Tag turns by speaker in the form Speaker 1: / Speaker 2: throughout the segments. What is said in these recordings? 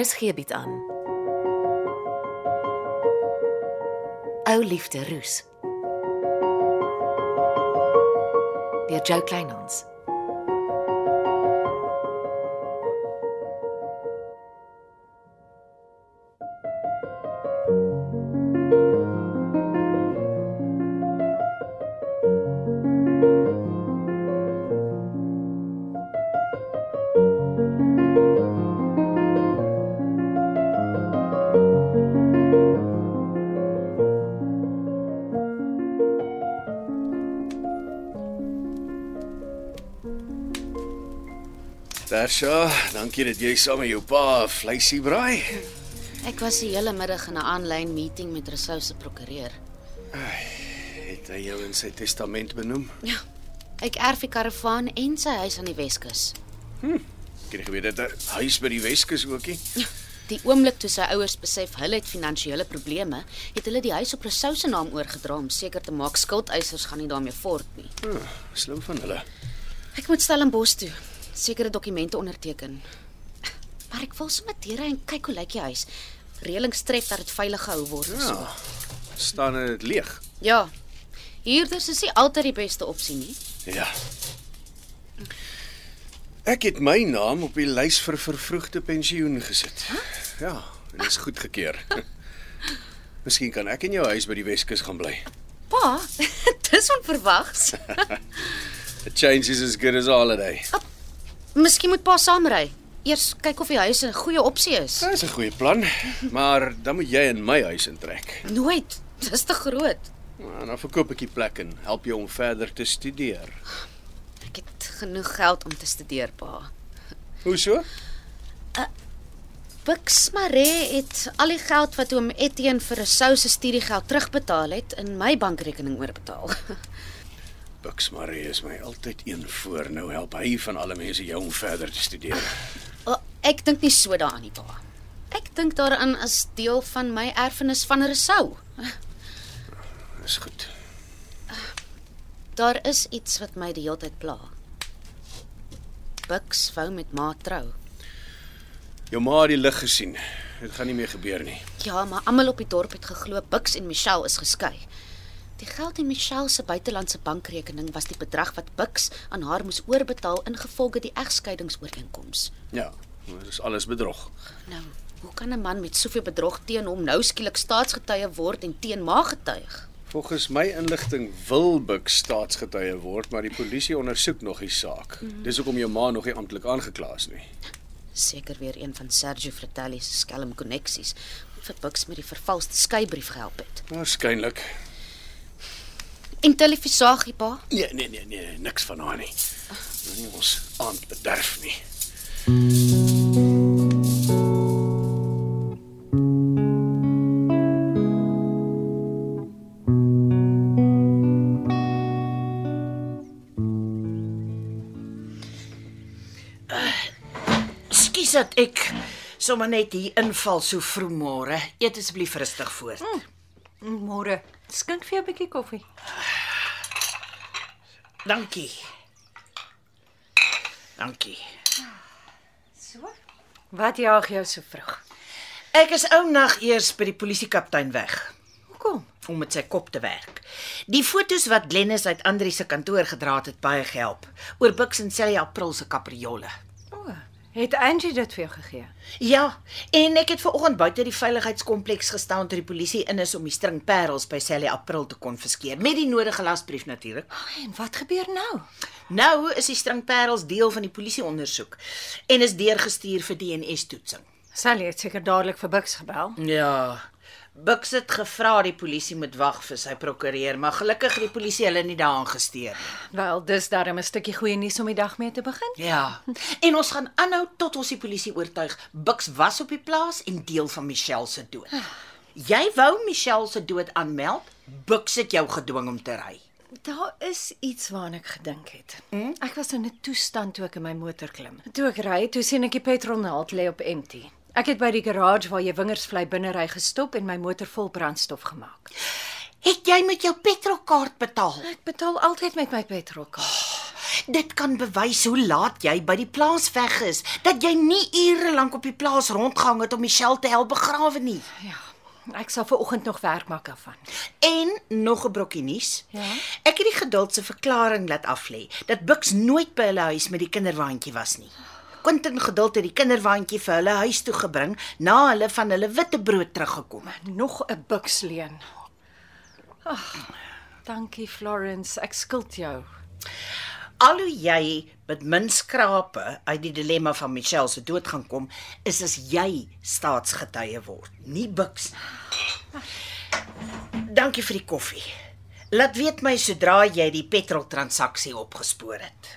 Speaker 1: RSG bied Er aan. Ou liefde roes. Deur Jo Kleinhans.
Speaker 2: Tasha, dankie dat jy saam met jou pa vleisie braai.
Speaker 3: Ek was die hele middag in 'n aanlyn meeting met Rousseau se prokureur.
Speaker 2: Het hy jou in sy testament benoem?
Speaker 3: Ja. Ek erf die karavaan en sy huis aan die Weskus.
Speaker 2: Ek het nie geweet dat 'n huis by die Weskus ookie.
Speaker 3: Die oomblik toe sy ouers besef hulle het finansiële probleme, het hulle die huis op Rousseau se naam oorgedra om seker te maak skuldeisers gaan nie daarmee voort nie.
Speaker 2: Oh, slim van hulle.
Speaker 3: Ek moet Stellenbosch toe, sekere dokumente onderteken. Maar ek wil sommer deure en kyk hoe lyk die huis. Reëlings tref dat dit veilig gehou word. en so.
Speaker 2: Ja. Staan dit leeg.
Speaker 3: ja. Huurders is nie altyd die beste opsie nie.
Speaker 2: Ja. Ek het my naam op die lys vir vervroegde pensioen gesit. Ja, en dit is goedgekeur. Miskien kan ek in jou huis by die Weskus gaan bly.
Speaker 3: Pa, dis onverwags.
Speaker 2: A change is as good as a holiday.
Speaker 3: Miskien moet pa saamry. Eers kyk of die huis 'n goeie opsie is.
Speaker 2: Dis 'n goeie plan, maar dan moet jy in my huis intrek.
Speaker 3: Nooit. Dis te groot.
Speaker 2: Nou, dan verkoop ek die plek en help jou om verder te studeer.
Speaker 3: Ek het genoeg geld om te studeer, pa.
Speaker 2: Hoe so?
Speaker 3: Bix Maree het al die geld wat oom Etienne vir 'n sou se studiegeld terugbetaal het, in my bankrekening oorbetaal.
Speaker 2: Bux Marie is my altyd een voor. Nou help hy van alle mense jou om verder te studeer.
Speaker 3: O, Oh, ek dink nie so daaraan nie, pa. Ek dink daaraan as deel van my erfenis van Resou.
Speaker 2: Dis goed.
Speaker 3: Daar is iets wat my die hele tyd pla. Bix wou met ma trou.
Speaker 2: Jou ma het die lig gesien. Dit gaan nie meer gebeur nie.
Speaker 3: Ja, maar almal op die dorp het geglo Bux en Michelle is geskei. Die geld in Michelle se buitelandse bankrekening was die bedrag wat Bux aan haar moes oorbetaal ingevolge die egskeidingsooreenkoms.
Speaker 2: Ja, maar dis alles bedrog.
Speaker 3: Nou, hoe kan 'n man met soveel bedrog teen hom nou skielik staatsgetuie word en teen ma getuig?
Speaker 2: Volgens my inligting wil Bux staatsgetuie word, maar die polisie ondersoek nog die saak. Dis hoekom jou ma nog nie amptelik aangekla is nie.
Speaker 3: Seker weer een van Sergio Fratelli se skelm koneksies wat vir Bux met die vervalste skeybrief gehelp het.
Speaker 2: Waarskynlik.
Speaker 3: En televisagie pa,
Speaker 2: Nee, nee, nee, nee, niks van haar nie. Moenie ons aand bederf nie.
Speaker 4: Ekskuus dat ek sommer net hier inval so vroeg môre. Eet asseblief rustig voort. Mm.
Speaker 5: Môre. Skink vir jou 'n bietjie koffie.
Speaker 4: Dankie. Dankie.
Speaker 5: So? Wat jaag jou so vroeg?
Speaker 4: Ek is ou nag eers by die polisiekaptein weg
Speaker 5: Hoekom?
Speaker 4: om met sy kop te werk. Die fotos wat Glennis uit Andri se kantoor gedra het, het baie gehelp oor Bux en Celia April se kapriole.
Speaker 5: O, het Angie dit vir jou gegee?
Speaker 4: Ja, en ek het ver oggend buite die veiligheidskompleks gestaan toe die polisie in is om die string parels by Celia April te konfiskeer met die nodige lasbrief natuurlik.
Speaker 5: Ai, en wat gebeur nou?
Speaker 4: Nou is die stringperels deel van die polisieondersoek en is deurgestuur vir DNA-toetsing.
Speaker 5: Sally het seker dadelik vir Bux gebel.
Speaker 4: Ja. Bux het gevra die polisie moet wag vir sy prokureur, maar gelukkig het die polisie hulle nie daaraan gesteer nie.
Speaker 5: Wel, dis darem 'n stukkie goeie nuus om die dag mee te begin.
Speaker 4: Ja. En ons gaan aanhou tot ons die polisie oortuig Bux was op die plaas en deel van Michelle se dood. Jy wou Michelle se dood aanmeld? Bux het jou gedwing om te ry.
Speaker 5: Daar is iets waaraan ek gedink het. Hmm? Ek was in 'n toestand toe ek in my motor klim. Toe ek ry, toe sien ek die petrolnaald lê op empty. Ek het by die garage waar jy wingersvlei binne ry gestop en my motor vol brandstof gemaak.
Speaker 4: Het jy met jou petrolkaart betaal?
Speaker 5: Ek betaal altyd met my petrolkaart.
Speaker 4: Dit kan bewys hoe laat jy by die plaas weg is, dat jy nie ure lank op die plaas rondgehang het om Michelle te help begrawe nie.
Speaker 5: Ja. Ek sal ver oggend nog werk maak daarvan.
Speaker 4: En nog 'n brokkie nuus.
Speaker 5: Ja?
Speaker 4: Ek het die geduld se verklaring laat af lê dat Bux nooit by hulle huis met die kinderwaandjie was nie. Quentin geduld het die kinderwaandjie vir hulle huis toe gebring na hulle van hulle witbrood teruggekom het.
Speaker 5: Nog 'n buks leen. Ag. Dankie Florence, ek skuld jou.
Speaker 4: Alhoewel jy met min skrape uit die dilemma van Michelle se dood gaan kom, is as jy staatsgetuie word, nie Bux. nie. Dankie vir die koffie. Laat weet my sodra jy die petrol transaksie opgespoor het.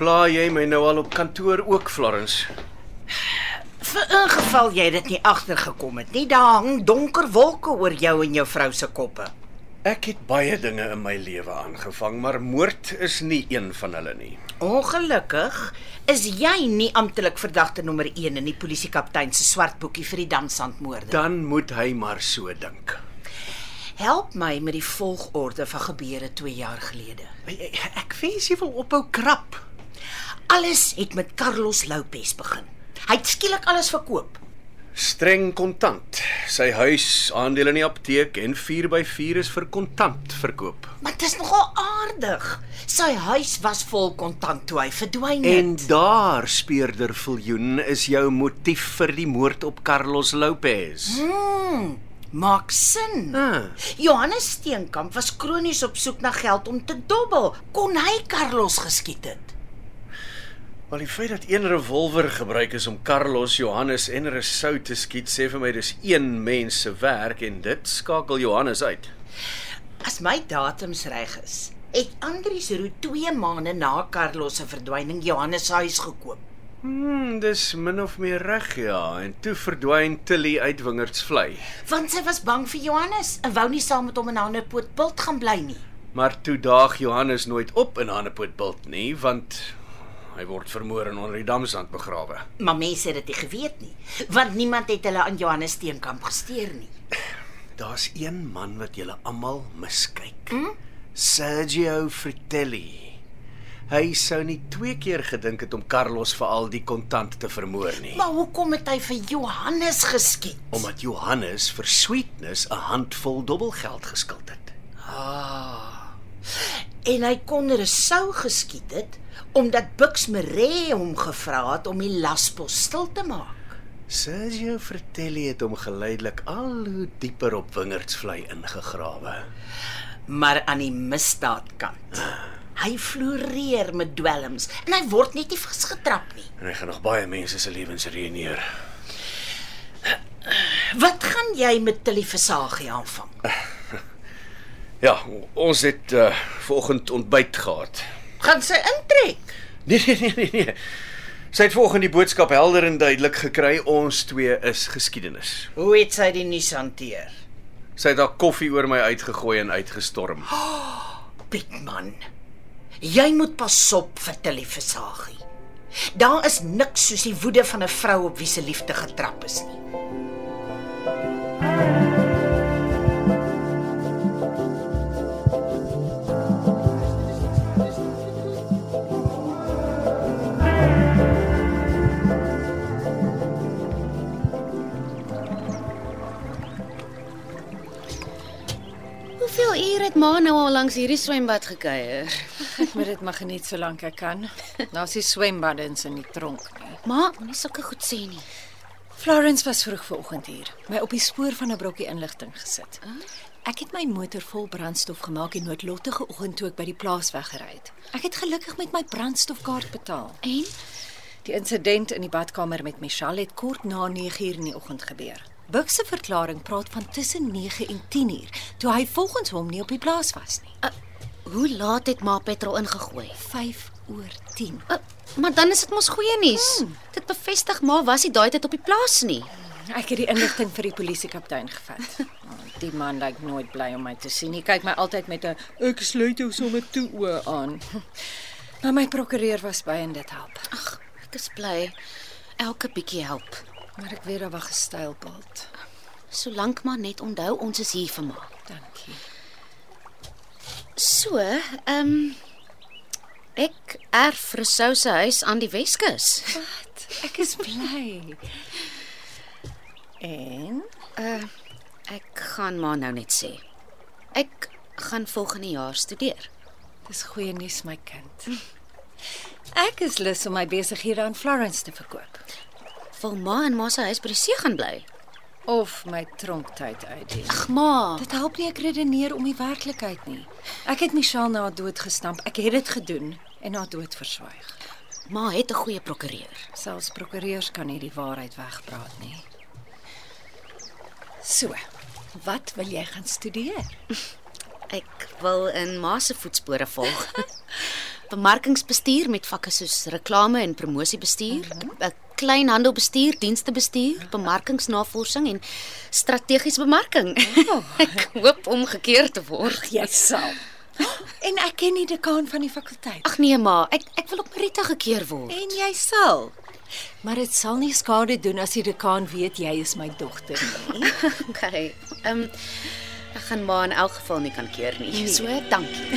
Speaker 2: Pla jy my nou al op kantoor ook, Florence?
Speaker 4: Vir ingeval jy dit nie agtergekom het nie, daar hang donker wolke oor jou en jou vrou se koppe.
Speaker 2: Ek het baie dinge in my lewe aangevang, maar moord is nie een van hulle nie.
Speaker 4: Ongelukkig is jy nie amptelik verdagte nommer 1 in die polisiekaptein se swart boekie vir die Damsandmoorde.
Speaker 2: Dan moet hy maar so dink.
Speaker 4: Help my met die volgorde van gebeure 2 jaar gelede.
Speaker 2: Ek wens jy wil ophou krap.
Speaker 4: Alles het met Carlos Lopez begin. Hy het skielik alles verkoop.
Speaker 2: Streng kontant. Sy huis, aandele in die apteek en 4x4 is vir kontant verkoop.
Speaker 4: Maar dit is nogal aardig. Sy huis was vol kontant toe hy verdwyn het.
Speaker 2: En daar, speurder Viljoen, is jou motief vir die moord op Carlos Lopez.
Speaker 4: Maak sin.
Speaker 2: Ah.
Speaker 4: Johannes Steenkamp was kronies op soek na geld om te dobbel. Kon hy Carlos geskiet het?
Speaker 2: Wel die feit dat een revolver gebruik is om Carlos, Johannes en Resou te skiet, sê vir my dis een mens se werk en dit skakel Johannes uit.
Speaker 4: As my datums reg is, het Andrius Roo 2 maande na Carlos se verdwyning Johannes se huis gekoop.
Speaker 2: Hmm, dis min of meer reg ja, en toe verdwyn Tilly uit Wingerdsvlei.
Speaker 4: Want sy was bang vir Johannes en wou nie saam met hom in 'n ander poot bult gaan bly nie.
Speaker 2: Maar toe daag Johannes nooit op in Hanepootbilt nie, want hy word vermoor en onder die damsand begrawe.
Speaker 4: Maar mense het dit nie geweet nie, want niemand het hulle aan Johannes Steenkamp gesteer nie.
Speaker 2: Daar's een man wat julle almal miskyk. Hmm? Sergio Fratelli. Hy sou nie twee keer gedink het om Carlos vir al die kontant te vermoor nie.
Speaker 4: Maar hoekom het hy vir Johannes geskiet?
Speaker 2: omdat Johannes vir sweetness 'n handvol dubbelgeld geskuld het.
Speaker 4: Ah. En hy kon Resou geskiet het omdat Bux Maree hom gevra het om die laspos stil te maak.
Speaker 2: Sergio Fratelli het hom geleidelik al hoe dieper op wingerdsvlei ingegrawe.
Speaker 4: Maar aan die misdaadkant. Hy floreer met dwelms en hy word net nie vasgetrap nie.
Speaker 2: En hy gaan nog baie mense se lewens reëneer.
Speaker 4: Wat gaan jy met Tilly Versagie aanvang?
Speaker 2: Ja, ons het uh, vanoggend ontbyt gehad.
Speaker 4: Gaan sy intrek?
Speaker 2: Nee nee nee nee. nee. Sy het vanoggend die boodskap helder en duidelik gekry ons twee is geskiedenis.
Speaker 4: Hoe het sy die nuus hanteer?
Speaker 2: Sy het haar koffie oor my uitgegooi en uitgestorm.
Speaker 4: Pietman. Jy moet pas op vir Tilly Versagie. Daar is niks soos die woede van 'n vrou op wie se liefde getrap is nie.
Speaker 3: Hoeveel ure het ma nou al langs hierdie swembad gekuier?
Speaker 5: Ek moet dit maar geniet solank ek kan. Daar's die swembaddens in die tronk nie.
Speaker 3: Ma, moenie sulke goed sê nie.
Speaker 5: Florence was vroeg vanoggend hier, my op die spoor van 'n brokkie inligting gesit. Ek het my motor vol brandstof gemaak en noodlottige oggend toe ek by die plaas weggery het. Ek het gelukkig met my brandstofkaart betaal.
Speaker 3: En
Speaker 5: Die insident in die badkamer met Michelle het kort na 9uur in die oggend gebeur. Buck se verklaring praat van tussen 9 en 10uur, toe hy volgens hom nie op die plaas was nie.
Speaker 3: uh, hoe laat het ma petrol ingegooi?
Speaker 5: 5 oor 10.
Speaker 3: Uh, maar dan is dit mos goeie nuus. Hmm. Dit bevestig ma was nie daai tyd op die plaas nie.
Speaker 5: Ek het die inligting vir die polisiekaptein gevat. Oh, Die man lyk nooit bly om my te sien nie. Kyk my altyd met 'n ek sluit jou sommer toe oë aan. Maar my prokureur was by en dit help.
Speaker 3: Ag, ek is bly. Elke bietjie help.
Speaker 5: Maar ek weet daar was gestylpeld.
Speaker 3: Solank maar net onthou ons is hier vir ma.
Speaker 5: Dankie.
Speaker 3: So, ehm ek erf Rousseau se huis aan die Weskus.
Speaker 5: Wat? Ek is bly. En
Speaker 3: Ek gaan maar nou net sê. Ek gaan volgende jaar studeer.
Speaker 5: dis goeie nuus my kind. Ek is lus om my besighede aan Florence te verkoop
Speaker 3: Wil ma en ma se huis by die see gaan bly?
Speaker 5: of my tronktyd uitdien.
Speaker 3: Ag ma,
Speaker 5: Dit help nie ek redeneer om die werklikheid nie. Ek het Michelle na haar dood gestamp. Ek het dit gedoen en haar dood verswyg.
Speaker 3: ma het 'n goeie prokureur.
Speaker 5: Selfs prokureurs kan nie die waarheid wegpraat nie. So, wat wil jy gaan studeer?
Speaker 3: Ek wil in ma se voetspore volg. Bemarkingsbestuur met vakke soos reklame en promosiebestuur, 'n kleinhandelbestuur, dienstebestuur, bemarkingsnavorsing en strategiese bemarking. ek hoop om gekeer te word.
Speaker 5: Jy sal. En ek ken die dekaan van die fakulteit.
Speaker 3: Ag nee ma, ek ek wil op Merita gekeer word.
Speaker 5: En jy sal. Maar dit sal nie skade doen as die dekaan weet jy is my dogter nie.
Speaker 3: Okay. Ehm um, ek gaan ma in elk geval nie kan keer nie. So, dankie.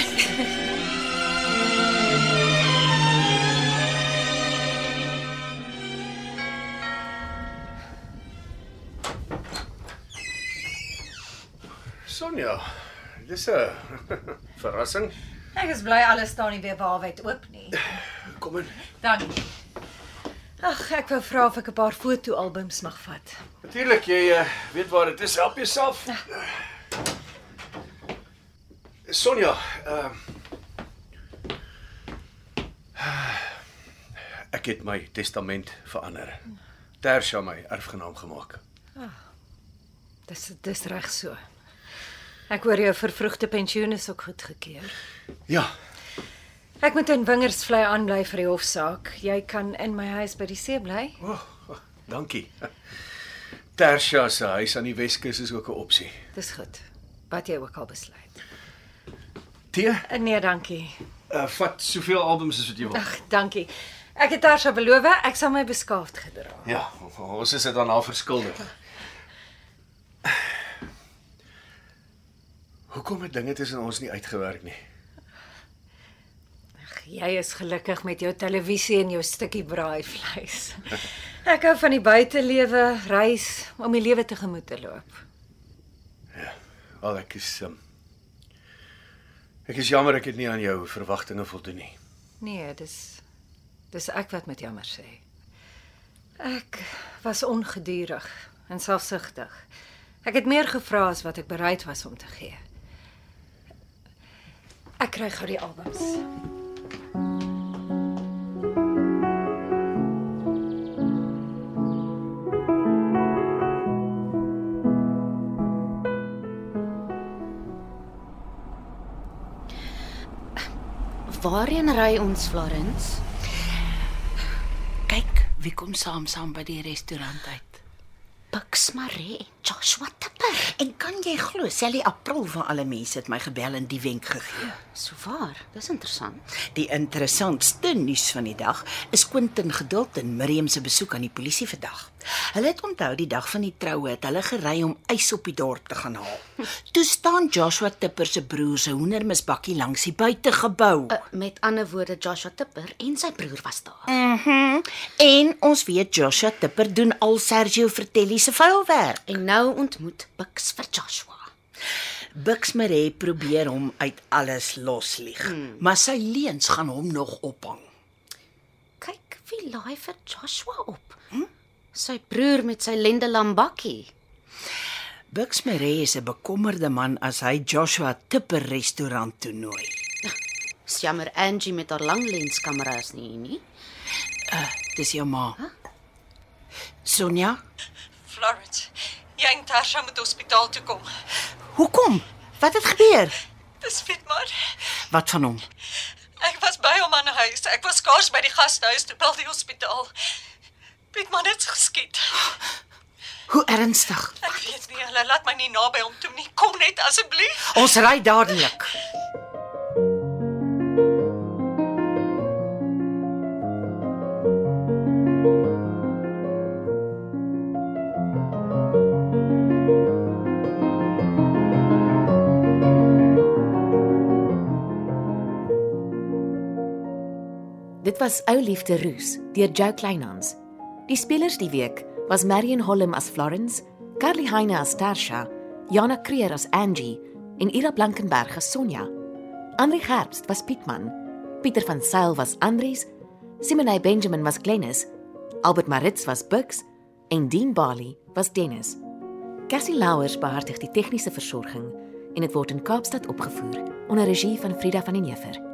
Speaker 2: Sonja, dis 'n verrassing.
Speaker 5: Ek is bly alles staan nie weer waarheid oop nie.
Speaker 2: Kom in.
Speaker 5: Dankie. Ag, ek wou vra of ek 'n paar fotoalbums mag vat.
Speaker 2: Natuurlik, jy eh, weet waar dit is. Help jouself. Sonja, ehm ek het my testament verander. Tersha my erfgenaam gemaak.
Speaker 5: Dis dis reg so. Ek hoor jou vervroegde pensioen is ook goedgekeur.
Speaker 2: Ja,
Speaker 5: Ek moet in Wingersvlei aanbly vir die hofsaak. Jy kan in my huis by die see bly.
Speaker 2: oh, oh, dankie. Tersha se huis aan die Weskus is ook 'n opsie.
Speaker 5: Dis goed. Wat jy ook al besluit.
Speaker 2: Tee,
Speaker 5: Eh, Nee, dankie.
Speaker 2: uh, vat soveel albums as wat jy wil.
Speaker 5: Ag, dankie. Ek het haar se beloof, ek sal my beskaafd gedra.
Speaker 2: Ja, ons is dit aan haar verskuldig. Hoekom het dinge tussen ons nie uitgewerk nie?
Speaker 5: Ag, jy is gelukkig met jou televisie en jou stukkie braai vleis. Ek hou van die buitelewe, reis, om die lewe tegemoet te loop.
Speaker 2: Al ek is um, ek is jammer ek het nie aan jou verwagtinge voldoen nie.
Speaker 5: Nee, dis dis ek wat met jammer sê. Ek was ongedurig en selfsugtig. Ek het meer gevra as wat ek bereid was om te gee. Ek kry gou die albums.
Speaker 3: Waarheen ry ons Florence?
Speaker 4: Kyk, wie kom saam saam by die restaurant uit.
Speaker 3: Bucks Maree en Joshua Tipper.
Speaker 4: En kan jy glo, Sally April vir alle mense het my gebel en die wenk gegee.
Speaker 3: So waar. Dis interessant.
Speaker 4: Die interessantste nuus van die dag is Quentin Geduld en Miriam se besoek aan die polisie vandag. Hulle het onthou die dag van die troue het hulle gery om ys op die dorp te gaan haal. Toe staan Joshua Tipper se broer se hoendermisbakkie langs die buitegebou.
Speaker 3: Uh, met ander woorde Joshua Tipper en sy broer was daar.
Speaker 4: En ons weet Joshua Tipper doen al Sergio Vertelli se vuilwerk.
Speaker 3: En nou ontmoet Bucks vir Joshua.
Speaker 4: Bix Maree probeer hom uit alles loslieg, mm. maar sy leuns gaan hom nog ophang.
Speaker 3: Kyk wie laai vir Joshua op. Hm? Sy broer met sy lende lambakkie.
Speaker 4: Bix Maree is 'n bekommerde man as hy Joshua Tipper restaurant toe nooi.
Speaker 3: Dis jammer Angie met haar langlenskamera is nie hier nie.
Speaker 4: Dis jou ma. Sonja,
Speaker 5: Florence, jy en Tarsha moet hospitaal toe kom.
Speaker 4: hoekom? Wat het gebeur?
Speaker 5: Dis fit maar.
Speaker 4: Wat van hom?
Speaker 5: Ek was by hom aan die huis. Ek was skaars by die gastehuis toe bel die hospitaal. Piet man dit's geskiet.
Speaker 4: Hoe ernstig?
Speaker 5: Ek weet nie, hulle laat my nie naby hom toe nie. Kom net asseblief.
Speaker 4: Ons ry dadelik.
Speaker 1: Dit was Ou Liefde Roos deur Jo Kleinhans. Die spelers die week was Marion Holm as Florence, Carly Heine as Tarsha, Jana Kreer as Angie en Ira Blankenberg as Sonja. Andri Gerbst was Pietman, Pieter van Sail was Andries, Simonay Benjamin was Glenis, Albert Maritz was Bux en Dean Bali was Dennis. Cassie Louwers behartig die tegniese versorging en dit word in Kaapstad opgevoer onder regie van Frida van den Neever.